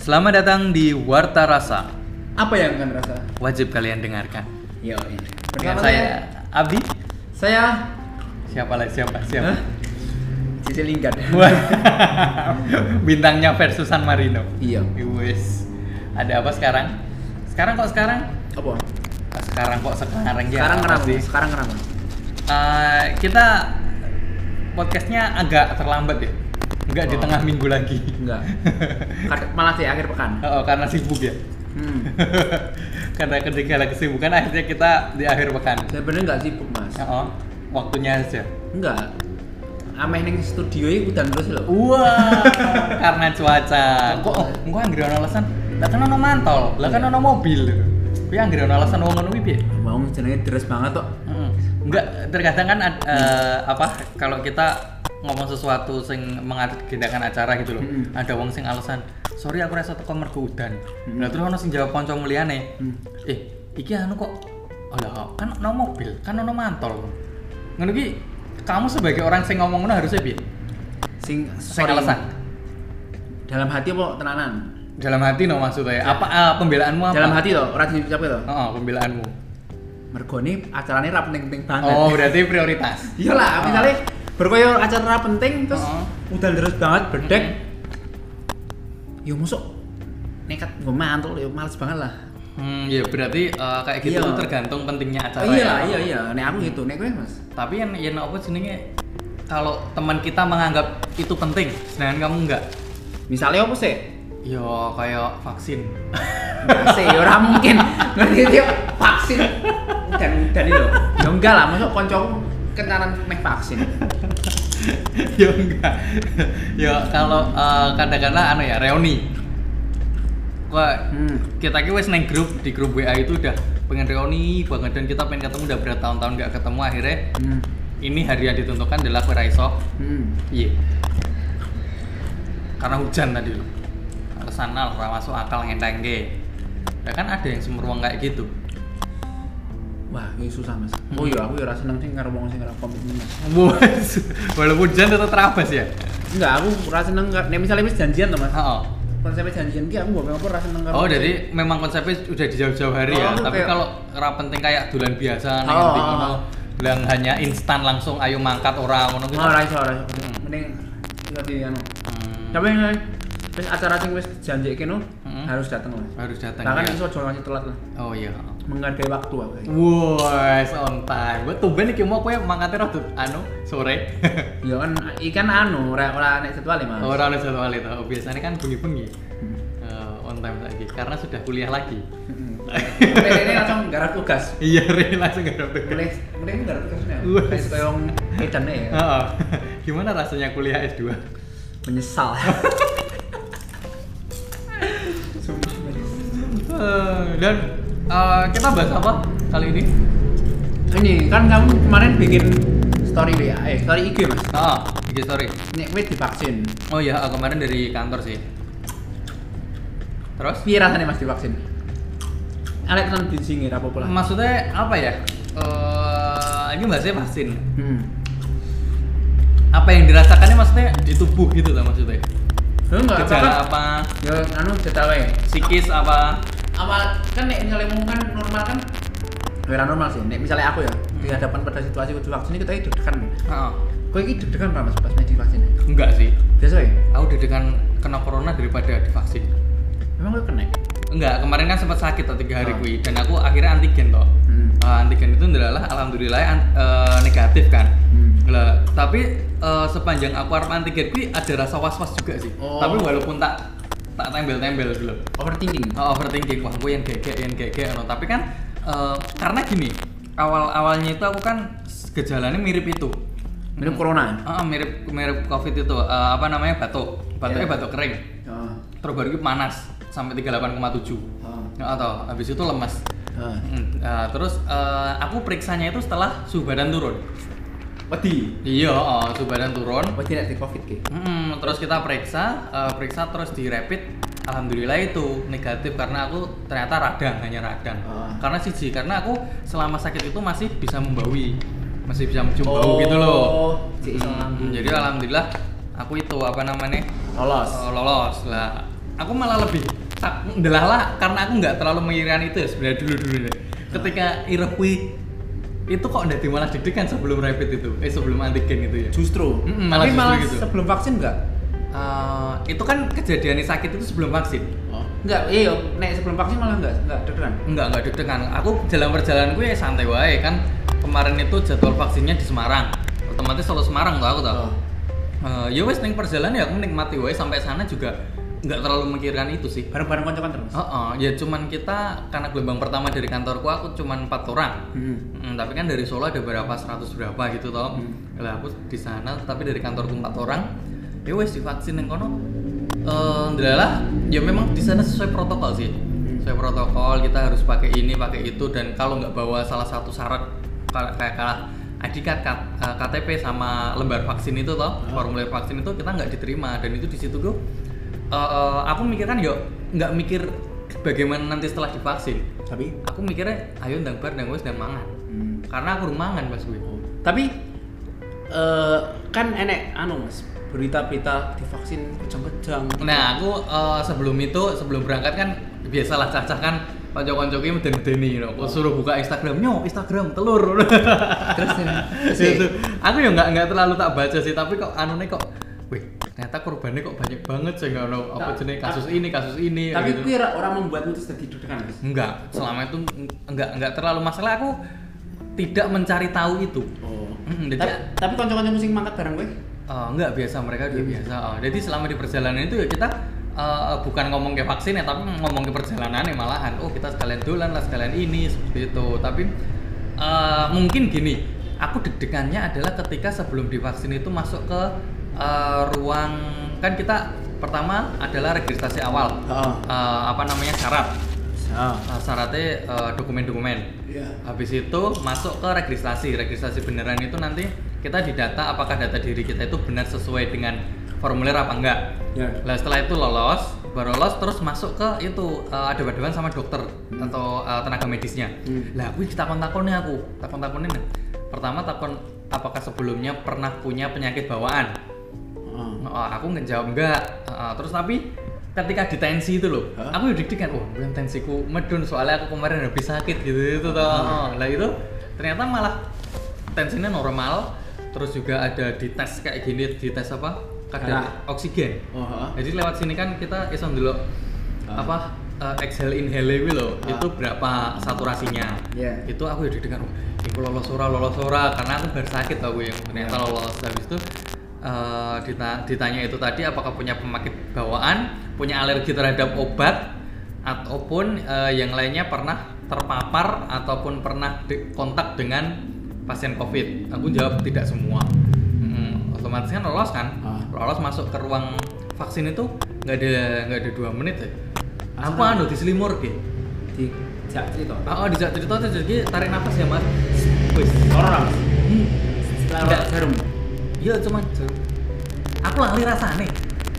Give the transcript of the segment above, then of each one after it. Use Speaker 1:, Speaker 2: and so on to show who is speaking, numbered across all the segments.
Speaker 1: Selamat datang di Warta Rasa.
Speaker 2: Apa yang kalian rasa?
Speaker 1: Wajib kalian dengarkan.
Speaker 2: Yo,
Speaker 1: iya. Dengan saya Abi.
Speaker 2: saya
Speaker 1: Siapa lah siapa siapa?
Speaker 2: Hah? Cici Linggar.
Speaker 1: Wah. Bintangnya versus San Marino.
Speaker 2: Iya.
Speaker 1: Wes. Ada apa sekarang? Sekarang kok sekarang?
Speaker 2: Apa?
Speaker 1: Ah, Sekarang kok sekarang ya?
Speaker 2: sekarang
Speaker 1: apa
Speaker 2: kenapa?
Speaker 1: sih?
Speaker 2: Sekarang kenapa?
Speaker 1: Eh, kita podcastnya agak terlambat ya. Enggak di
Speaker 2: Oh.
Speaker 1: tengah minggu lagi.
Speaker 2: Enggak. Kar- Malah di akhir pekan.
Speaker 1: Oh, karena sibuk ya.
Speaker 2: Hmm.
Speaker 1: karena ketinggalan kesibukan Kan akhirnya kita di akhir pekan.
Speaker 2: Sebenarnya enggak sibuk, Mas.
Speaker 1: Oh, waktunya aja.
Speaker 2: Enggak. Ameh ning studio iki udan terus lho.
Speaker 1: Wah, karena cuaca. Kok oh, engko anggere ono alasan? Lah kan ono mantol, lah kan ono mobil. Kuwi anggere ono alasan wong ngono kuwi piye?
Speaker 2: Mau jenenge deres banget kok.
Speaker 1: Hmm. Enggak, terkadang kan ad- eh, apa kalau kita ngomong sesuatu sing mengagendakan acara gitu loh.
Speaker 2: Mm-mm.
Speaker 1: Ada wong sing alasan, "Sorry aku rasa teko mergo udan."
Speaker 2: Mm-mm.
Speaker 1: Lah terus ono sing jawab kanca liyane,
Speaker 2: Hmm.
Speaker 1: "Eh, iki anu kok Alah, kan ono mobil, kan ono mantol." Ngono ki kamu sebagai orang sing ngomong ngono harusnya piye?
Speaker 2: Sing
Speaker 1: Sing
Speaker 2: sorry.
Speaker 1: alasan.
Speaker 2: Dalam hati apa tenanan?
Speaker 1: dalam hati no maksudnya apa ah, pembelaanmu apa
Speaker 2: Dalam hati loh, ora diucapke loh.
Speaker 1: oh, pembelaanmu
Speaker 2: Mergone acarane ra penting-penting banget.
Speaker 1: oh berarti prioritas
Speaker 2: Iyalah,
Speaker 1: Oh.
Speaker 2: misalnya berkoyo acara penting terus
Speaker 1: Oh.
Speaker 2: udah terus banget berdek. Yo masuk nekat gue mantul, yo males banget lah.
Speaker 1: hmm ya berarti eh, kayak gitu
Speaker 2: Iya.
Speaker 1: tuh tergantung pentingnya acara
Speaker 2: Oh, iya,
Speaker 1: ya.
Speaker 2: iya, iya. Nek aku gitu, nek gue mas.
Speaker 1: tapi yang yang apa jenenge kalau teman kita menganggap itu penting sedangkan kamu enggak
Speaker 2: Misalnya apa sih?
Speaker 1: yo kayak vaksin
Speaker 2: Masih, yo ora mungkin. Ngerti dia vaksin dan dan itu. Yo Ya enggak lah, masuk koncoku kencanan meh vaksin.
Speaker 1: yo Ya enggak yo kalau eh, kadang-kadang anu ya reuni kok
Speaker 2: Hmm.
Speaker 1: kita ki wes neng grup di grup WA itu udah pengen reuni banget dan kita pengen ketemu udah bertahun-tahun nggak ketemu akhirnya
Speaker 2: Hmm.
Speaker 1: ini hari yang ditentukan adalah Vera Isok
Speaker 2: Hmm.
Speaker 1: iya karena hujan tadi loh alasan ora masuk akal ngenteng ya kan ada yang semeruang kayak gitu
Speaker 2: Wah, ini susah mas. Oh iya, aku yo ora seneng sih karo wong sing ora komitmen. Mas.
Speaker 1: Wes, walaupun hujan tetap terabas ya
Speaker 2: Enggak, aku ora seneng nggak- nek misalnya wis janjian to mas.
Speaker 1: oh,
Speaker 2: konsepnya janjian ki aku gak pengen apa rasa nengkar
Speaker 1: oh jadi memang konsepnya udah di jauh-jauh hari ya
Speaker 2: Oh,
Speaker 1: tapi
Speaker 2: kayak-
Speaker 1: kalau ora penting kayak dulan biasa neng
Speaker 2: Oh,
Speaker 1: ngerti
Speaker 2: oh,
Speaker 1: ngono
Speaker 2: oh.
Speaker 1: bilang hanya instan langsung ayo mangkat orang ngono gitu
Speaker 2: oh ora iso ora iso mending kita di anu
Speaker 1: Hmm,
Speaker 2: tapi ini wis acara sing wis janji kene
Speaker 1: Hmm.
Speaker 2: harus datang lah
Speaker 1: harus datang
Speaker 2: bahkan
Speaker 1: ya.
Speaker 2: iso aja ngasih telat lah
Speaker 1: oh iya
Speaker 2: menghargai waktu aku
Speaker 1: Hmm.
Speaker 2: kayak.
Speaker 1: Wes on time. Gue tumben iki mau kowe mangkate rada anu sore.
Speaker 2: ya kan ikan anu ora ora nek jadwal ya mas
Speaker 1: Ora ono jadwal itu. Biasanya kan bengi-bengi.
Speaker 2: Hmm.
Speaker 1: Eh, on time lagi karena sudah kuliah lagi.
Speaker 2: Mm-mm. Mulai ini langsung garap tugas
Speaker 1: Iya, re langsung gak ada tugas.
Speaker 2: mulai mulai ini garap tugasnya
Speaker 1: Wes. Ah.
Speaker 2: kayak suka yang edannya ya
Speaker 1: Heeh. Gimana rasanya kuliah S2?
Speaker 2: menyesal Sumpah, menyesal.
Speaker 1: Eh, Dan eh, kita bahas apa kali ini?
Speaker 2: ini kan kamu kemarin bikin story WA eh story IG mas
Speaker 1: Heeh, IG story.
Speaker 2: nek kowe divaksin
Speaker 1: Ah, iya, Oh iya, eh, kemarin dari kantor sih. Terus?
Speaker 2: piye rasanya mas divaksin Alek tenan bisinge ra apa-apa lah
Speaker 1: Maksudnya apa ya? Eh, ini bahasnya vaksin.
Speaker 2: hmm
Speaker 1: apa yang dirasakannya maksudnya di tubuh gitu lah maksudnya
Speaker 2: Nah, lu enggak
Speaker 1: gejala apa
Speaker 2: apa-apa ya anu jatah wae
Speaker 1: psikis apa
Speaker 2: awal kan nek misalnya mau kan normal kan ora normal sih nek misalnya aku ya di hadapan pada situasi kudu vaksin kita itu deg-degan
Speaker 1: Heeh.
Speaker 2: kowe iki deg-degan ra mas pas nek divaksin
Speaker 1: Ah, enggak sih
Speaker 2: biasa ya
Speaker 1: aku dengan kena corona daripada divaksin
Speaker 2: memang kowe kena
Speaker 1: enggak kemarin kan sempat sakit tuh tiga hari
Speaker 2: Ah.
Speaker 1: kui dan aku akhirnya antigen toh
Speaker 2: hmm.
Speaker 1: Eh, antigen itu adalah alhamdulillah an- eh, negatif kan
Speaker 2: Hmm.
Speaker 1: lah tapi eh, sepanjang aku arep antigen kui ada rasa was was juga sih
Speaker 2: Oh.
Speaker 1: tapi walaupun tak tak gitu tembel tembel dulu
Speaker 2: overthinking
Speaker 1: Oh, overthinking wah gue yang gege yang gege no. tapi kan eh, karena gini awal awalnya itu aku kan s- gejalanya mirip itu
Speaker 2: minum corona
Speaker 1: Ah, mirip mirip covid itu eh, apa namanya batuk batuknya
Speaker 2: Iya.
Speaker 1: batuk kering
Speaker 2: Heeh.
Speaker 1: terus baru itu panas sampai 38,7
Speaker 2: Heeh.
Speaker 1: Ya, atau habis itu lemas
Speaker 2: Heeh.
Speaker 1: Hmm, eh, terus eh, aku periksanya itu setelah suhu badan turun
Speaker 2: wedi
Speaker 1: iya oh, suhu badan turun
Speaker 2: wedi nek di covid ki
Speaker 1: Mm-mm, terus kita periksa, eh, periksa terus di rapid, alhamdulillah itu negatif karena aku ternyata radang hanya radang.
Speaker 2: Ah.
Speaker 1: Karena siji karena aku selama sakit itu masih bisa membawi, masih bisa mencium bau
Speaker 2: Oh,
Speaker 1: gitu loh.
Speaker 2: cik iso
Speaker 1: Mm,
Speaker 2: ngambung.
Speaker 1: jadi alhamdulillah aku itu apa namanya
Speaker 2: lolos
Speaker 1: eh, lolos lah. aku malah lebih tak ndelah lah karena aku nggak terlalu mengira itu ya sebenarnya dulu dulu ketika
Speaker 2: Ah.
Speaker 1: Iroquois itu kok udah malah didikan sebelum rapid itu eh sebelum antigen itu ya
Speaker 2: Justru.
Speaker 1: Mm-mm, malah
Speaker 2: Tapi
Speaker 1: justru
Speaker 2: malah
Speaker 1: gitu.
Speaker 2: sebelum vaksin enggak?
Speaker 1: Eh, itu kan kejadian sakit itu sebelum vaksin
Speaker 2: Enggak, iya, nek sebelum vaksin malah enggak, enggak deg-degan.
Speaker 1: Enggak, enggak deg-degan. Aku jalan perjalanan gue ya santai wae kan. Kemarin itu jadwal vaksinnya di Semarang. Otomatis selalu Semarang tuh aku tuh.
Speaker 2: Oh.
Speaker 1: Eh, ya wes ning perjalanan ya aku nikmati wae sampai sana juga nggak terlalu memikirkan itu sih.
Speaker 2: Bareng-bareng koncokan terus.
Speaker 1: Heeh, ya cuman kita karena gelombang pertama dari kantorku aku cuman empat orang.
Speaker 2: Hmm.
Speaker 1: Mm, tapi kan dari Solo ada berapa 100 berapa gitu toh. Lah aku di sana tapi dari kantorku empat orang. Ya wes divaksin yang kono. Eh ndelalah, ya memang di sana sesuai protokol sih. Sesuai protokol kita harus pakai ini, pakai itu dan kalau nggak bawa salah satu syarat kal- kayak kalah ID card, kat- eh, KTP sama lembar vaksin itu toh, formulir vaksin itu kita nggak diterima dan itu di situ gue eh, aku mikirkan yo nggak mikir bagaimana nanti setelah divaksin.
Speaker 2: Tapi
Speaker 1: Aku mikirnya ayo ndang bar ndang wes ndang mangan
Speaker 2: hmm.
Speaker 1: karena aku rumangan pas gue
Speaker 2: Tapi eh, kan enek anu Mas, berita-berita divaksin kejang-kejang.
Speaker 1: nah aku eh, sebelum itu sebelum berangkat kan biasalah cacah kan konco konco ki meden medeni you know. Aku suruh buka Instagram nyo Instagram telur
Speaker 2: terus
Speaker 1: Itu. aku ya nggak nggak terlalu tak baca sih tapi kok anu kok wih ternyata korbannya kok banyak banget sih nggak know, apa
Speaker 2: Tak-
Speaker 1: jenis
Speaker 2: tak-
Speaker 1: kasus ini kasus ini
Speaker 2: Tapi
Speaker 1: gitu.
Speaker 2: kuwi ra- orang membuatmu terus jadi deg-degan, Mas.
Speaker 1: enggak selama itu enggak enggak terlalu masalah aku tidak mencari tahu itu
Speaker 2: Oh.
Speaker 1: Mm, jadi-
Speaker 2: tapi tapi kanca-kancamu sing mangkat bareng kowe?
Speaker 1: Eh, enggak biasa mereka udah biasa. Eh, jadi selama di perjalanan itu ya kita eh, bukan ngomong ke vaksin ya, tapi ngomong ke perjalanan ya malahan. Oh kita sekalian dolan lah sekalian ini seperti itu. Tapi eh, mungkin gini, aku deg-degannya adalah ketika sebelum divaksin itu masuk ke eh, ruang kan kita pertama adalah registrasi awal
Speaker 2: Heeh.
Speaker 1: Eh, apa namanya syarat Eh, syaratnya eh, dokumen-dokumen.
Speaker 2: Iya.
Speaker 1: Habis itu masuk ke registrasi. Registrasi beneran itu nanti kita didata apakah data diri kita itu benar sesuai dengan formulir apa enggak.
Speaker 2: Ya.
Speaker 1: Lah setelah itu lolos, baru lolos terus masuk ke itu eh, ada debat sama dokter atau eh, tenaga medisnya.
Speaker 2: Hmm.
Speaker 1: Lah aku takon-takonnya aku, takon-takonnya. nah. Pertama takon apakah sebelumnya pernah punya penyakit bawaan.
Speaker 2: Heeh.
Speaker 1: Oh, aku nggak jawab enggak. Ah, terus tapi ketika di tensi itu loh,
Speaker 2: Hah?
Speaker 1: aku udah kan, wah bulan tensiku medun soalnya aku kemarin habis sakit gitu itu toh. Oh,
Speaker 2: Hmm.
Speaker 1: Lah itu ternyata malah tensinya normal. Terus juga ada di tes kayak gini, di tes apa?
Speaker 2: Darah.
Speaker 1: Kadar oksigen.
Speaker 2: Oh, heeh.
Speaker 1: Jadi lewat sini kan kita iso dulu
Speaker 2: Ah.
Speaker 1: apa eh, exhale inhale kuwi lho,
Speaker 2: Ah.
Speaker 1: itu berapa saturasinya.
Speaker 2: Iya.
Speaker 1: Itu aku ya udah dengar, aku lolos ora lolos ora karena aku baru sakit aku yang ternyata
Speaker 2: Iya.
Speaker 1: lolos habis itu eh, dita- ditanya itu tadi apakah punya pemakit bawaan, punya alergi terhadap obat ataupun eh, yang lainnya pernah terpapar ataupun pernah di- kontak dengan pasien Covid. Aku jawab tidak semua. Mm, otomatis kan lolos kan?
Speaker 2: Ah.
Speaker 1: lolos masuk ke ruang vaksin itu nggak ada nggak ada dua menit ya aku anu diselimur gitu
Speaker 2: Di jak cerita.
Speaker 1: oh, oh dijak cerita tuh jadi tarik nafas ya mas wis
Speaker 2: Orang.
Speaker 1: Hmm.
Speaker 2: Setelah
Speaker 1: Nggak.
Speaker 2: serum.
Speaker 1: iya cuma aku lali rasane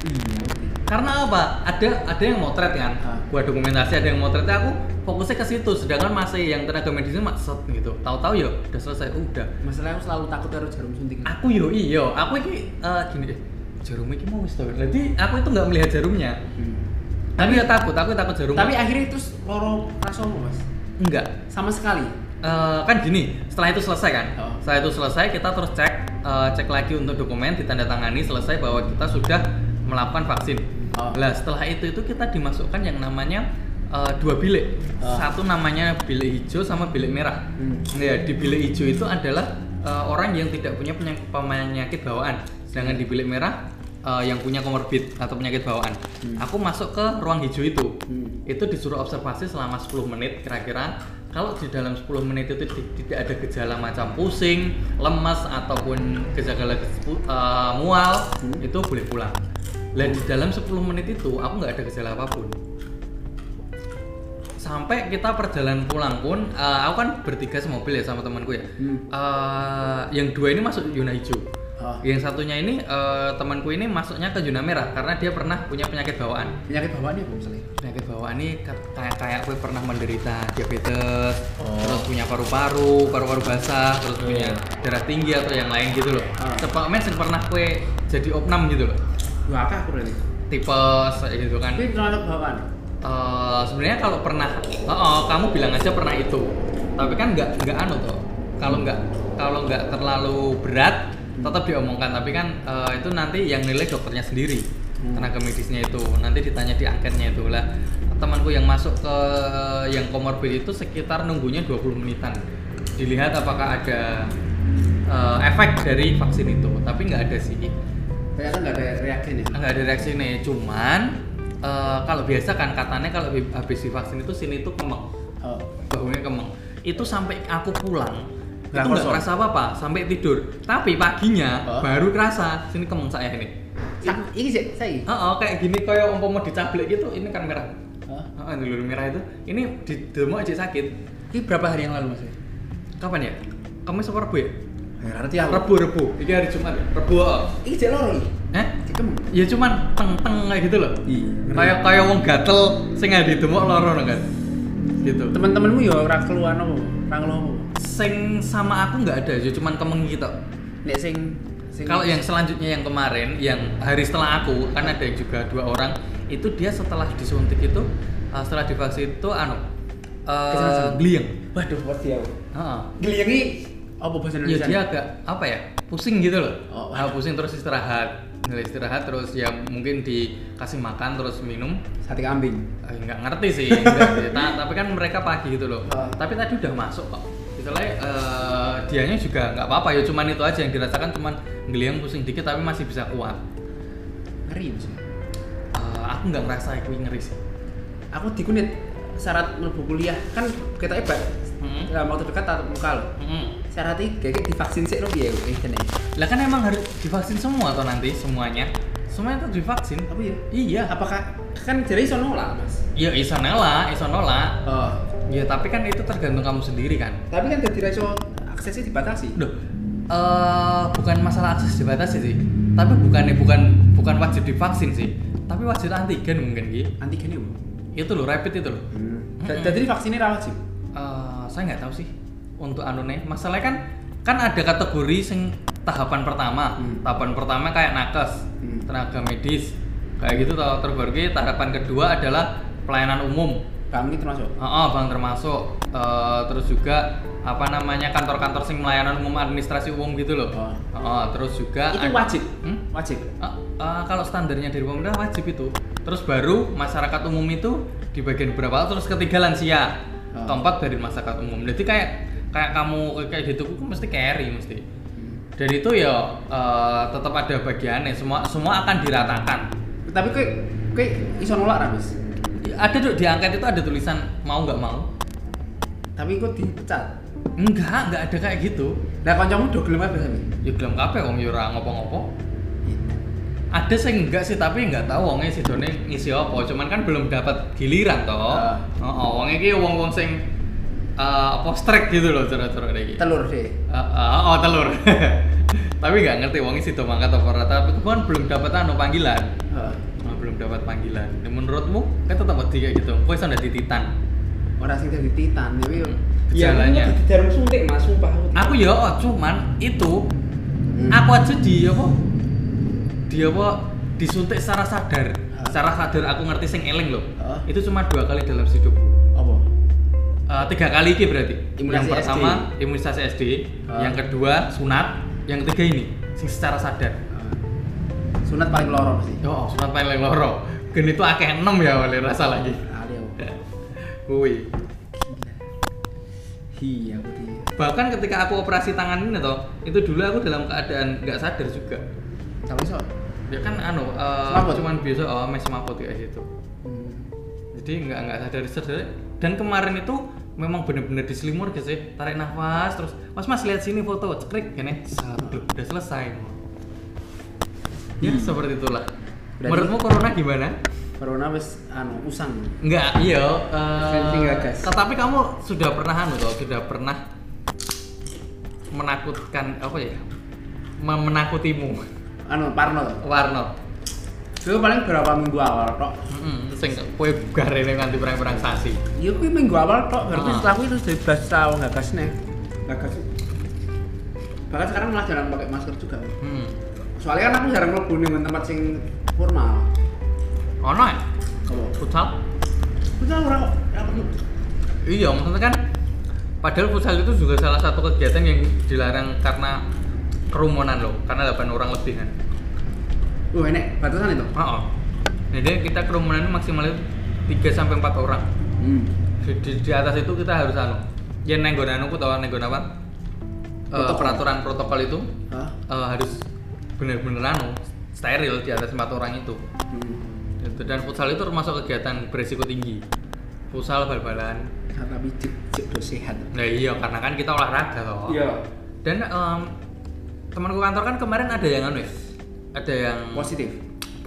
Speaker 2: Iya.
Speaker 1: karena apa ada ada yang motret kan
Speaker 2: Ah.
Speaker 1: buat dokumentasi ada yang motretnya aku fokusnya ke situ sedangkan masih yang tenaga medisnya maksud gitu tahu-tahu ya udah selesai udah
Speaker 2: Masalahnya aku selalu takut karo jarum suntik.
Speaker 1: aku yo iyo aku ini eh, gini eh, jarum ini mau wis tau jadi aku itu nggak melihat jarumnya tapi ya takut aku takut jarum
Speaker 2: Hmm. Tapi akhirnya terus loro rasomu, Mas.
Speaker 1: enggak
Speaker 2: Sama sekali.
Speaker 1: Eh, kan gini, setelah itu selesai kan?
Speaker 2: Oh.
Speaker 1: Setelah itu selesai kita terus cek eh, cek lagi untuk dokumen ditandatangani selesai bahwa kita sudah melakukan vaksin.
Speaker 2: Oh.
Speaker 1: Lah setelah itu itu kita dimasukkan yang namanya eh, dua bilik.
Speaker 2: Oh.
Speaker 1: Satu namanya bilik hijau sama bilik merah.
Speaker 2: Hmm.
Speaker 1: Ya, di bilik hijau itu adalah eh, orang yang tidak punya penyakit, penyakit bawaan. Sedangkan di bilik merah eh, yang punya komorbid atau penyakit bawaan.
Speaker 2: Hmm.
Speaker 1: Aku masuk ke ruang hijau itu
Speaker 2: Hmm.
Speaker 1: itu disuruh observasi selama 10 menit kira-kira kalau di dalam 10 menit itu ti- tidak ada gejala macam pusing, lemas ataupun gejala eh, mual
Speaker 2: Hmm.
Speaker 1: itu boleh pulang. Dan di dalam 10 menit itu aku nggak ada gejala apapun. Sampai kita perjalanan pulang pun eh, aku kan bertiga semobil ya sama temanku ya.
Speaker 2: Hmm.
Speaker 1: Eh, yang dua ini masuk zona hijau.
Speaker 2: Ah.
Speaker 1: Yang satunya ini eh, temanku ini masuknya ke zona merah karena dia pernah punya penyakit bawaan
Speaker 2: Penyakit bawaannya apa misalnya?
Speaker 1: penyakit bawaan ini ke- kayak kayak gue pernah menderita diabetes
Speaker 2: Oh.
Speaker 1: terus punya paru-paru paru-paru basah terus punya darah tinggi atau yang lain gitu loh
Speaker 2: Iya. Ah.
Speaker 1: Cepak men sing pernah gue jadi opnam gitu loh
Speaker 2: Dua akak aku berarti.
Speaker 1: tipes kayak gitu kan.
Speaker 2: Tapi terlalu bawaan.
Speaker 1: Eh, sebenarnya kalau pernah oh, oh, kamu bilang aja pernah itu tapi kan nggak nggak anu tuh kalau nggak kalau nggak terlalu berat tetap diomongkan tapi kan eh, itu nanti yang nilai dokternya sendiri
Speaker 2: Hmm.
Speaker 1: tenaga medisnya itu nanti ditanya di angketnya itu lah temanku yang masuk ke yang komorbid itu sekitar nunggunya 20 menitan dilihat apakah ada eh, efek dari vaksin itu tapi nggak ada sih
Speaker 2: Ternyata nggak ada ya. reaksi nih.
Speaker 1: nggak ada reaksi nih cuman eh, kalau biasa kan katanya kalau hab- habis divaksin itu sini tuh kemeng
Speaker 2: Oh.
Speaker 1: bahunya kemeng itu sampai aku pulang
Speaker 2: Lah,
Speaker 1: itu nggak
Speaker 2: kosong.
Speaker 1: kerasa apa apa sampai tidur tapi paginya
Speaker 2: Hah?
Speaker 1: baru kerasa sini kemeng saya ini
Speaker 2: Sa- Ini sih, saya.
Speaker 1: oh, oh, kayak gini kayak umpama dicablek gitu ini kan merah
Speaker 2: Hah?
Speaker 1: oh, yang dulu merah itu ini di demo aja sakit
Speaker 2: Ini berapa hari yang lalu mas?
Speaker 1: kapan ya kamu sama rebu ya
Speaker 2: Berarti
Speaker 1: rebu rebu ini hari jumat ya rebu oh.
Speaker 2: Ini sih lori.
Speaker 1: eh
Speaker 2: Cikem.
Speaker 1: ya cuman teng teng kayak gitu loh
Speaker 2: Iya.
Speaker 1: kayak kayak wong gatel sing nggak ditemok loro no kan gitu
Speaker 2: Teman-temanmu ya orang keluar nopo, orang keluar nopo.
Speaker 1: sing sama aku nggak ada ya cuman kemengi gitu
Speaker 2: Nek sing, sing
Speaker 1: kalau yang selanjutnya yang kemarin yang hari setelah aku kan ada juga dua orang itu dia setelah disuntik itu uh, setelah divaksin itu anu eh
Speaker 2: Kesan-kesan.
Speaker 1: gliyeng
Speaker 2: Waduh, pasti aku.
Speaker 1: Heeh.
Speaker 2: Geliangi apa bahasa
Speaker 1: ya
Speaker 2: Indonesia?
Speaker 1: dia agak apa ya pusing gitu loh
Speaker 2: Oh.
Speaker 1: Ah, pusing terus istirahat Nah, istirahat terus ya mungkin dikasih makan terus minum
Speaker 2: Sate kambing.
Speaker 1: Eh, nggak ngerti sih nggak sih. Ta- tapi kan mereka pagi gitu loh
Speaker 2: Ah.
Speaker 1: tapi tadi udah masuk kok misalnya eh, dianya juga nggak apa-apa ya cuman itu aja yang dirasakan cuman ngeliang pusing dikit tapi masih bisa kuat
Speaker 2: Ngeri Mas.
Speaker 1: Eh, aku nggak ngerasa aku ngeri sih
Speaker 2: Aku dikunit syarat mlebu kuliah kan kita hebat.
Speaker 1: Mm-mm.
Speaker 2: Dalam waktu dekat tatap muka loh.
Speaker 1: Mm-mm.
Speaker 2: Syarat iki kayak divaksin sih lo piye eh kene.
Speaker 1: lah kan emang harus divaksin semua atau nanti semuanya semuanya tuh divaksin
Speaker 2: Apa ya?
Speaker 1: iya
Speaker 2: Apakah kan jadi iso nolak, Mas?
Speaker 1: ya iso nela iso nolak
Speaker 2: Oh.
Speaker 1: ya tapi kan itu tergantung kamu sendiri kan
Speaker 2: Tapi kan dadi ra iso aksesnya dibatasi.
Speaker 1: Duh, eh, bukan masalah akses dibatasi sih, tapi bukannya bukan bukan wajib divaksin sih, tapi wajib antigen mungkin Ki.
Speaker 2: Antigen itu.
Speaker 1: Itu loh rapid itu loh. Mm-mm.
Speaker 2: Jadi vaksinnya ra wajib.
Speaker 1: Eh, saya nggak tahu sih untuk anune. Masalahnya kan kan ada kategori sing tahapan pertama.
Speaker 2: Hmm.
Speaker 1: Tahapan pertama kayak nakes,
Speaker 2: Hmm.
Speaker 1: tenaga medis, kayak gitu toh. Terus baru Ki, tahapan kedua adalah pelayanan umum.
Speaker 2: Kamu ini termasuk.
Speaker 1: Oh, bang termasuk Eh, terus juga apa namanya kantor-kantor sing melayanan umum administrasi umum gitu loh.
Speaker 2: Oh.
Speaker 1: Oh, terus juga ad-
Speaker 2: Itu wajib.
Speaker 1: Hmm?
Speaker 2: Wajib.
Speaker 1: Eh, eh, kalau standarnya dari pemerintah wajib itu. Terus baru masyarakat umum itu di bagian berapa? Terus ketiga lansia,
Speaker 2: Oh.
Speaker 1: keempat dari masyarakat umum. Jadi kayak kayak kamu kayak gitu, aku mesti carry mesti. Dan itu ya eh, tetap ada bagiannya. Semua semua akan diratakan.
Speaker 2: Tapi kowe kowe iso nolak ra, Mas?
Speaker 1: Ada Dok, di angket itu ada tulisan mau nggak mau.
Speaker 2: Tapi kok dipecat.
Speaker 1: Enggak, enggak ada kayak gitu.
Speaker 2: Lah kancamu do gelem apa sampe?
Speaker 1: Ya gelem kabeh wong ya ora ngopo-ngopo. Ada sing enggak sih tapi enggak tahu wongnya si Doni ngisi apa, cuman kan belum dapat giliran toh.
Speaker 2: Ah.
Speaker 1: Heeh, wong iki wong-wong sing eh, apa strike gitu loh cara-cara iki.
Speaker 2: Telur deh.
Speaker 1: Eh, eh, oh telur. tapi nggak ngerti wongnya si mangkat apa ora, tapi itu kan belum dapat anu panggilan.
Speaker 2: Heeh.
Speaker 1: Oh, belum dapat panggilan. Ya, menurutmu kan tetap wedi kayak gitu. Kowe sudah tititan.
Speaker 2: Ora sing dadi titan, tapi
Speaker 1: Gejalanya.
Speaker 2: Iya, aku jarum suntik Mas, sumpah aku.
Speaker 1: Aku ya cuman itu
Speaker 2: Hmm.
Speaker 1: aku aja di apa di apa disuntik secara sadar
Speaker 2: Hah?
Speaker 1: secara sadar aku ngerti sing eling loh
Speaker 2: Hah?
Speaker 1: itu cuma dua kali dalam hidupku
Speaker 2: apa?
Speaker 1: Eh, tiga kali ini berarti
Speaker 2: Imunisasi Ah.
Speaker 1: yang pertama imunisasi SD
Speaker 2: Hah?
Speaker 1: yang kedua sunat yang ketiga ini sing secara sadar
Speaker 2: Ah, Sunat paling loro pasti.
Speaker 1: oh sunat paling loro gen itu akeh enam ya oleh rasa lagi
Speaker 2: Ali aku.
Speaker 1: Wui.
Speaker 2: Hi, Iya, aku di.
Speaker 1: bahkan ketika aku operasi tangan ini toh itu dulu aku dalam keadaan nggak sadar juga
Speaker 2: Tapi so.
Speaker 1: ya kan anu eh,
Speaker 2: Semaput?
Speaker 1: cuman biasa oh mes semaput kayak gitu
Speaker 2: Hmm.
Speaker 1: jadi nggak nggak sadar sadar dan kemarin itu memang bener-bener diselimur gitu sih tarik nafas terus mas mas lihat sini foto cekrik gini Loh, udah selesai ya
Speaker 2: Hmm.
Speaker 1: seperti itulah
Speaker 2: Berarti-
Speaker 1: menurutmu corona gimana
Speaker 2: Corona wis anu usang.
Speaker 1: nggak iya
Speaker 2: Sensi nggak,
Speaker 1: eh
Speaker 2: guys?
Speaker 1: tetapi kamu sudah pernah anu toh sudah pernah menakutkan apa ya Mem- menakutimu
Speaker 2: Anu Parno. to.
Speaker 1: Warno
Speaker 2: Dulu paling berapa minggu awal tok.
Speaker 1: Mm-mm, sing kue bugar ini nganti perang-perang sasi
Speaker 2: Ya kuwi minggu awal tok, berarti
Speaker 1: Ah.
Speaker 2: setelah kuwi terus dari belas tahun enggak gas nih. Enggak gas. Bahkan sekarang malah jarang pakai masker juga.
Speaker 1: Hmm.
Speaker 2: Soalnya kan aku jarang mlebu ning tempat sing formal.
Speaker 1: Ono ya?
Speaker 2: Apa?
Speaker 1: Futsal?
Speaker 2: Futsal ora kok. Ora perlu.
Speaker 1: Iya, maksudnya kan padahal futsal itu juga salah satu kegiatan yang dilarang karena kerumunan loh, karena 8 orang lebih kan.
Speaker 2: Lu enek batasan itu.
Speaker 1: Oh, Jadi kita kerumunan maksimal itu 3 sampai 4 orang.
Speaker 2: Hmm.
Speaker 1: Di, di- di atas itu kita harus anu. Ya nenggon anu ku tahu nenggon apa? Eh,
Speaker 2: Protokol.
Speaker 1: peraturan protokol itu
Speaker 2: Hah?
Speaker 1: eh, harus bener-bener anu steril di atas empat orang itu.
Speaker 2: Hmm.
Speaker 1: Gitu. Dan futsal itu termasuk kegiatan berisiko tinggi. Futsal bal-balan.
Speaker 2: Karena pijit cek do sehat.
Speaker 1: Nah iya karena kan kita olahraga toh.
Speaker 2: Iya.
Speaker 1: Dan em, temanku kantor kan kemarin ada yang anu ya, ada yang
Speaker 2: Positif.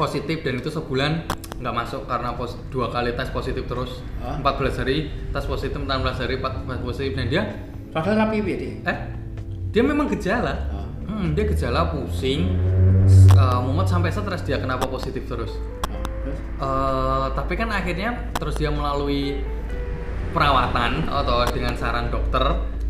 Speaker 1: positif dan itu sebulan nggak masuk karena pos, dua kali tes positif terus
Speaker 2: Hah?
Speaker 1: 14 hari tes positif 16 hari empat- empat positif dan dia
Speaker 2: Padahal rapi piye deh.
Speaker 1: eh dia memang gejala
Speaker 2: Hah?
Speaker 1: Hmm, dia gejala pusing s- eh, mumet sampai stres dia kenapa positif terus
Speaker 2: Hah? Terus?
Speaker 1: Eh, tapi kan akhirnya terus dia melalui perawatan atau dengan saran dokter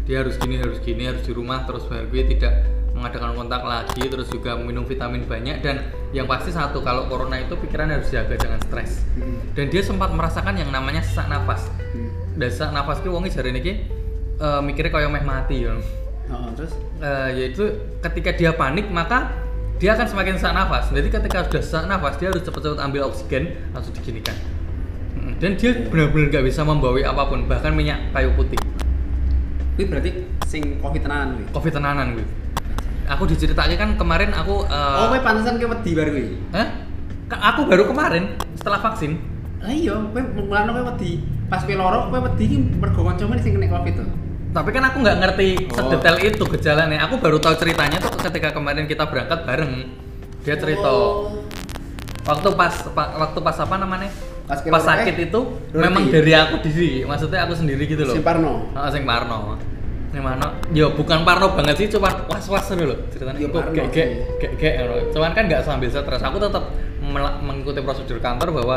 Speaker 1: dia harus gini harus gini harus di rumah terus BRB tidak mengadakan kontak lagi terus juga minum vitamin banyak dan yang pasti satu kalau corona itu pikiran harus jaga jangan stres
Speaker 2: Hmm.
Speaker 1: dan dia sempat merasakan yang namanya sesak nafas
Speaker 2: Hmm.
Speaker 1: dan sesak nafas ki wongi jari niki eh, mikirnya kayak meh mati ya
Speaker 2: Oh, terus
Speaker 1: Eh, yaitu ketika dia panik maka dia akan semakin sesak nafas. Jadi ketika sudah sesak nafas dia harus cepat-cepat ambil oksigen langsung diginikan. Mm, Dan dia benar-benar nggak bisa membawa apapun bahkan minyak kayu putih.
Speaker 2: Kuwi berarti sing covid tenanan kuwi.
Speaker 1: Covid tenanan gue. Aku diceritain kan kemarin aku. eh,
Speaker 2: Oh, kowe pantesan kowe wedi bar kuwi.
Speaker 1: Hah? Ka- Aku baru kemarin setelah vaksin.
Speaker 2: Lah iya, kowe mulane kowe wedi. Pas kowe loro kowe wedi iki mergo kancamu sing kena covid to.
Speaker 1: Tapi kan aku nggak ngerti
Speaker 2: Oh.
Speaker 1: sedetail itu gejalanya. Aku baru tahu ceritanya tuh ketika kemarin kita berangkat bareng. Dia cerita.
Speaker 2: Oh.
Speaker 1: waktu pas pa- waktu pas apa namanya
Speaker 2: Pas
Speaker 1: pas,
Speaker 2: keluar,
Speaker 1: sakit
Speaker 2: eh,
Speaker 1: itu
Speaker 2: berhenti.
Speaker 1: memang dari aku diri maksudnya aku sendiri gitu loh
Speaker 2: Sing Parno.
Speaker 1: Heeh, sing Parno Sing Parno ya bukan Parno banget sih cuman was was dulu loh ceritanya
Speaker 2: Ya,
Speaker 1: kok
Speaker 2: Parno
Speaker 1: gek gek
Speaker 2: sih.
Speaker 1: gek gek gitu loh. cuman kan nggak sambil stres aku tetap mel- mengikuti prosedur kantor bahwa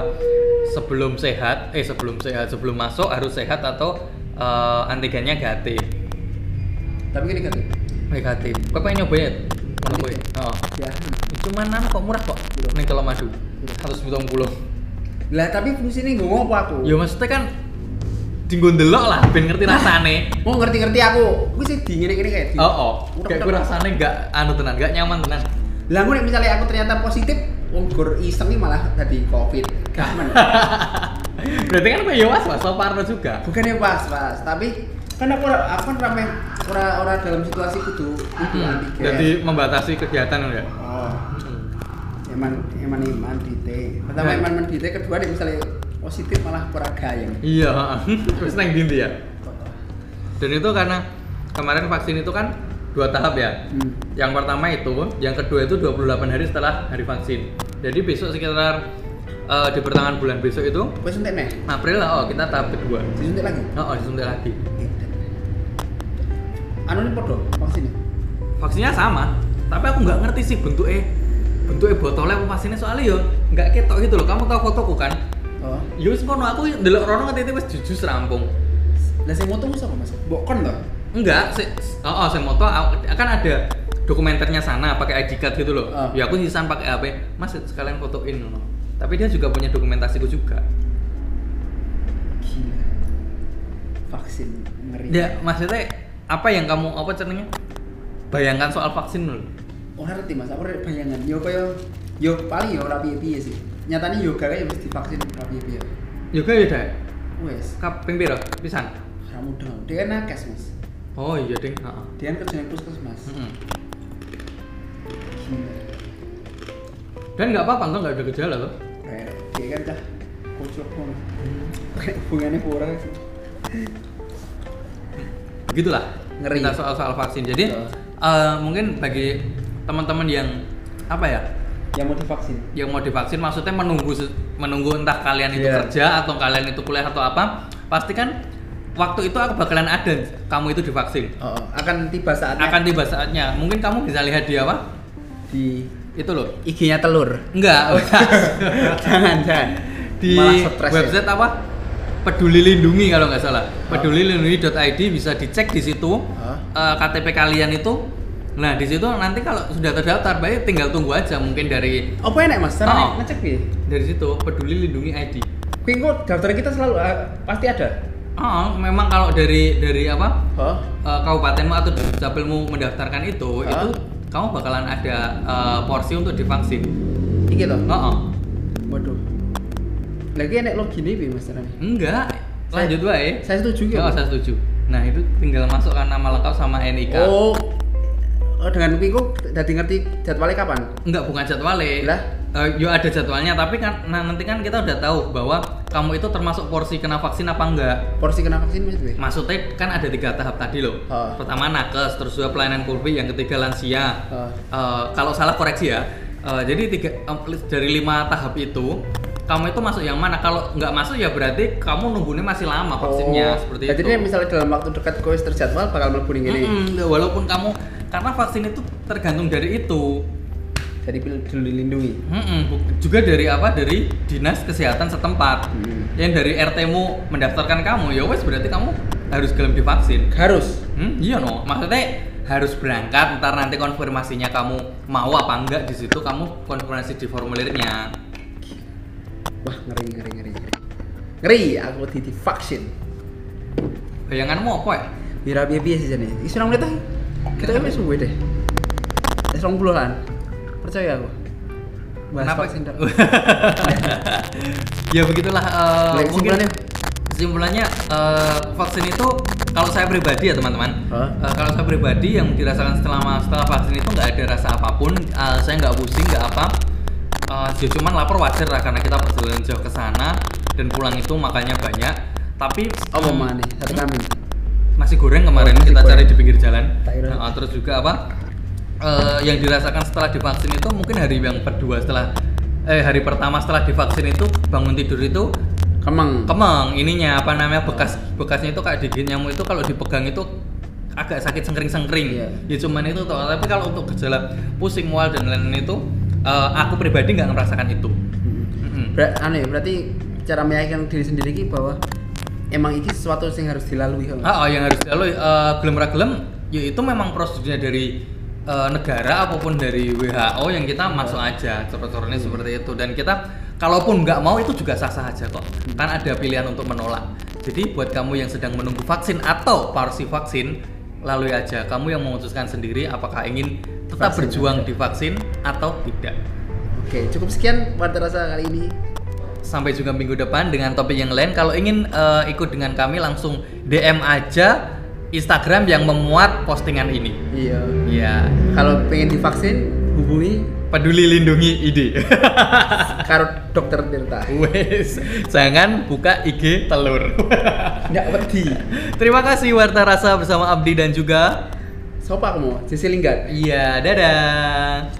Speaker 1: sebelum sehat eh sebelum sehat sebelum masuk harus sehat atau eh, antigennya negatif
Speaker 2: Tapi kene gak.
Speaker 1: negatif kau pengen nyoba ya Ngono kuwi. Heeh.
Speaker 2: Ya.
Speaker 1: cuman nang kok murah kok
Speaker 2: Iya.
Speaker 1: ning Telah Madu 170
Speaker 2: Lah tapi fungsinya gue apa aku?
Speaker 1: Ya maksudnya kan dinggo ndelok lah ben ngerti rasane.
Speaker 2: Mau ngerti-ngerti aku. Gue sih dingin ini kayak Nah. di.
Speaker 1: Oh, oh. Kayak gue
Speaker 2: Udah, udah.
Speaker 1: rasane enggak anu tenan, enggak nyaman tenan.
Speaker 2: Lah gue nek misalnya aku ternyata positif, wong gur iseng nih malah tadi covid. Kamen.
Speaker 1: Berarti kan kayak was was Parno juga.
Speaker 2: Bukannya pas pas, ya, tapi kan aku ora- aku kan rame ora ora dalam situasi kudu kudu
Speaker 1: Hmm.
Speaker 2: antigen.
Speaker 1: Jadi membatasi kegiatan ya.
Speaker 2: Oh. Eman eman eman dite. Pertama
Speaker 1: Nah.
Speaker 2: eman eman dite, kedua nek misalnya positif malah kurang gayeng.
Speaker 1: Iya, heeh. terus nang dindi ya. Dan itu karena kemarin vaksin itu kan dua tahap ya.
Speaker 2: Hmm.
Speaker 1: Yang pertama itu, yang kedua itu 28 hari setelah hari vaksin. Jadi besok sekitar eh, di pertengahan bulan besok itu
Speaker 2: Gue suntik nih,
Speaker 1: April lah, oh kita tahap kedua.
Speaker 2: disuntik lagi.
Speaker 1: Oh, oh disuntik lagi.
Speaker 2: Anu ini podo vaksinnya.
Speaker 1: Vaksinnya sama, tapi aku nggak ngerti sih bentuknya bentuknya botolnya apa vaksinnya soalnya yo nggak ketok gitu loh. Kamu tahu fotoku kan?
Speaker 2: Oh.
Speaker 1: Yo wis ngono aku ndelok rono ngetiti wis jujus rampung.
Speaker 2: Lah sing moto ku sapa Mas? Mbok kon to?
Speaker 1: Enggak, si, oh, oh saya moto aku- kan ada dokumenternya sana pakai ID card gitu loh.
Speaker 2: Ah.
Speaker 1: Ya aku sisan pakai HP. Mas sekalian fotoin ngono. Tapi dia juga punya dokumentasiku juga.
Speaker 2: Gila. Vaksin ngeri.
Speaker 1: Ya, maksudnya apa yang kamu apa cenderungnya? Bayangkan soal vaksin loh.
Speaker 2: Ora ngerti Mas, aku ora bayangan. Yo kaya yo paling yo ora piye-piye sih. Nyatane yo gak kaya wis divaksin ora piye-piye.
Speaker 1: Juga ya, Dek.
Speaker 2: Wes,
Speaker 1: Kap ping piro? Pisan.
Speaker 2: ora mudah. Dia kan nakes Mas.
Speaker 1: Oh iya, Ding. Heeh.
Speaker 2: Dia kan kerjanya puskesmas.
Speaker 1: Mm-mm.
Speaker 2: Gila.
Speaker 1: Dan nggak apa-apa, enggak nggak ada gejala loh.
Speaker 2: Kayak dia kan dah kocok ngono.
Speaker 1: Hmm.
Speaker 2: Kayak hubungannya kurang sih.
Speaker 1: Begitulah.
Speaker 2: Ngeri.
Speaker 1: Kita soal soal vaksin. Jadi
Speaker 2: Betul.
Speaker 1: eh, mungkin bagi teman-teman yang apa ya,
Speaker 2: Yang mau divaksin.
Speaker 1: yang mau divaksin maksudnya menunggu se- menunggu entah kalian itu
Speaker 2: Iya.
Speaker 1: kerja atau kalian itu kuliah atau apa, pastikan waktu itu aku bakalan ada kamu itu divaksin.
Speaker 2: Oh, oh. akan tiba saatnya
Speaker 1: Akan tiba saatnya. Mungkin kamu bisa lihat dia apa?
Speaker 2: di
Speaker 1: Itu loh.
Speaker 2: IG-nya telur.
Speaker 1: Enggak.
Speaker 2: Oh. jangan, jangan.
Speaker 1: di
Speaker 2: Malah stres ya.
Speaker 1: website apa peduli lindungi kalau nggak salah peduli lindungi.id bisa dicek di situ
Speaker 2: Hah?
Speaker 1: Eh, KTP kalian itu Nah, di situ nanti kalau sudah terdaftar, baik tinggal tunggu aja mungkin dari
Speaker 2: Apa enak mas? Cara
Speaker 1: Oh.
Speaker 2: nek ngecek piye?
Speaker 1: dari situ peduli lindungi ID.
Speaker 2: Kuwi engko daftar kita selalu eh, pasti ada.
Speaker 1: Oh, memang kalau dari dari apa
Speaker 2: Hah?
Speaker 1: eh, kabupatenmu atau dapilmu mendaftarkan itu,
Speaker 2: Hah?
Speaker 1: itu kamu bakalan ada eh, porsi untuk divaksin.
Speaker 2: Iki toh.
Speaker 1: Oh, oh.
Speaker 2: Waduh. Lagi enak login piye mas carane?
Speaker 1: enggak. Lanjut wae.
Speaker 2: Saya setuju ki,
Speaker 1: Oh,
Speaker 2: Mas.
Speaker 1: saya setuju. Nah, itu tinggal masukkan nama lengkap sama NIK.
Speaker 2: Oh. oh, dengan kuwi engko dadi ngerti jadwalnya kapan?
Speaker 1: Enggak, bukan jadwalnya.
Speaker 2: Lah?
Speaker 1: Eh, yo ada jadwalnya, tapi kan nah, nanti kan kita udah tahu bahwa kamu itu termasuk porsi kena vaksin apa enggak.
Speaker 2: Porsi kena vaksin mas kuwi.
Speaker 1: Maksudnya kan ada tiga tahap tadi loh.
Speaker 2: Ha.
Speaker 1: Pertama nakes, terus dua pelayanan kurbi, yang ketiga lansia.
Speaker 2: Ha.
Speaker 1: Eh, kalau salah koreksi ya. Eh, jadi tiga em, li- dari lima tahap itu kamu itu masuk yang mana? Kalau nggak masuk ya berarti kamu nunggunya masih lama vaksinnya seperti
Speaker 2: Oh. Jadi
Speaker 1: itu.
Speaker 2: nek misalnya dalam waktu dekat kowe wis terjadwal bakal mlebu ning kene.
Speaker 1: Mm-mm, walaupun kamu karena vaksin itu tergantung dari itu.
Speaker 2: Jadi perlu dilindungi.
Speaker 1: Mm-mm, bu- juga dari apa? Dari dinas kesehatan setempat.
Speaker 2: Hmm.
Speaker 1: Yang dari RT-mu mendaftarkan kamu, ya wes berarti kamu harus gelem divaksin.
Speaker 2: Harus.
Speaker 1: Hmm, iya no. Maksudnya harus berangkat ntar nanti konfirmasinya kamu mau apa enggak di situ kamu konfirmasi di formulirnya.
Speaker 2: Wah, ngeri ngeri ngeri ngeri. Ngeri aku di divaksin.
Speaker 1: Bayanganmu apa ya?
Speaker 2: Bira piye piye sih jane? Iki surang menit ah. Kita kan wis suwe deh. Wis 20 an. Percaya aku. Bahas
Speaker 1: Kenapa?
Speaker 2: vaksin dah.
Speaker 1: ya begitulah eh,
Speaker 2: Baik,
Speaker 1: mungkin
Speaker 2: kesimpulannya?
Speaker 1: kesimpulannya eh, vaksin itu kalau saya pribadi ya teman-teman
Speaker 2: Hah?
Speaker 1: eh, kalau saya pribadi yang dirasakan setelah setelah vaksin itu nggak ada rasa apapun eh, saya nggak pusing nggak apa Eh, ya cuman lapar wajar lah karena kita perjalanan jauh ke sana dan pulang itu makannya banyak tapi
Speaker 2: Apa
Speaker 1: em,
Speaker 2: maneh? Sate kambing.
Speaker 1: nasi goreng kemarin
Speaker 2: Oh, nasi
Speaker 1: kita
Speaker 2: goreng.
Speaker 1: cari di pinggir jalan.
Speaker 2: Tak kira.
Speaker 1: Nah, terus juga apa? eh, yang dirasakan setelah divaksin itu mungkin hari yang kedua setelah eh hari pertama setelah divaksin itu bangun tidur itu
Speaker 2: Kemeng.
Speaker 1: kemeng ininya apa namanya bekas bekasnya itu kayak digigit nyamuk itu kalau dipegang itu agak sakit sengkring-sengkring.
Speaker 2: Iya.
Speaker 1: Ya cuman itu toh. Tapi kalau untuk gejala pusing mual dan lain-lain itu eh, aku pribadi nggak merasakan itu.
Speaker 2: Mm-mm.
Speaker 1: Mm-mm.
Speaker 2: Ber anu ya, berarti cara meyakinkan diri sendiri ki bahwa emang ini sesuatu yang harus dilalui. kan?
Speaker 1: Ah, ah, yang harus lo uh, gelem ra gelem yaitu memang prosedurnya dari eh, negara apapun dari WHO yang kita masuk aja cepet-cepetnya seperti itu dan kita kalaupun nggak mau itu juga sah-sah aja kok kan ada pilihan untuk menolak jadi buat kamu yang sedang menunggu vaksin atau parsi vaksin lalui aja kamu yang memutuskan sendiri apakah ingin tetap
Speaker 2: Vaksin
Speaker 1: berjuang divaksin atau tidak
Speaker 2: Oke, cukup sekian pada rasa kali ini.
Speaker 1: sampai juga minggu depan dengan topik yang lain. Kalau ingin eh, ikut dengan kami langsung DM aja Instagram yang memuat postingan ini.
Speaker 2: Iya.
Speaker 1: Ya,
Speaker 2: Kalau pengen divaksin, hubungi
Speaker 1: peduli lindungi ID.
Speaker 2: karo dokter Tirta.
Speaker 1: Wes, jangan buka IG telur.
Speaker 2: Nggak wedi.
Speaker 1: Terima kasih Warta Rasa bersama Abdi dan juga
Speaker 2: Sopo aku mau? Sisi linggat.
Speaker 1: Iya, dadah.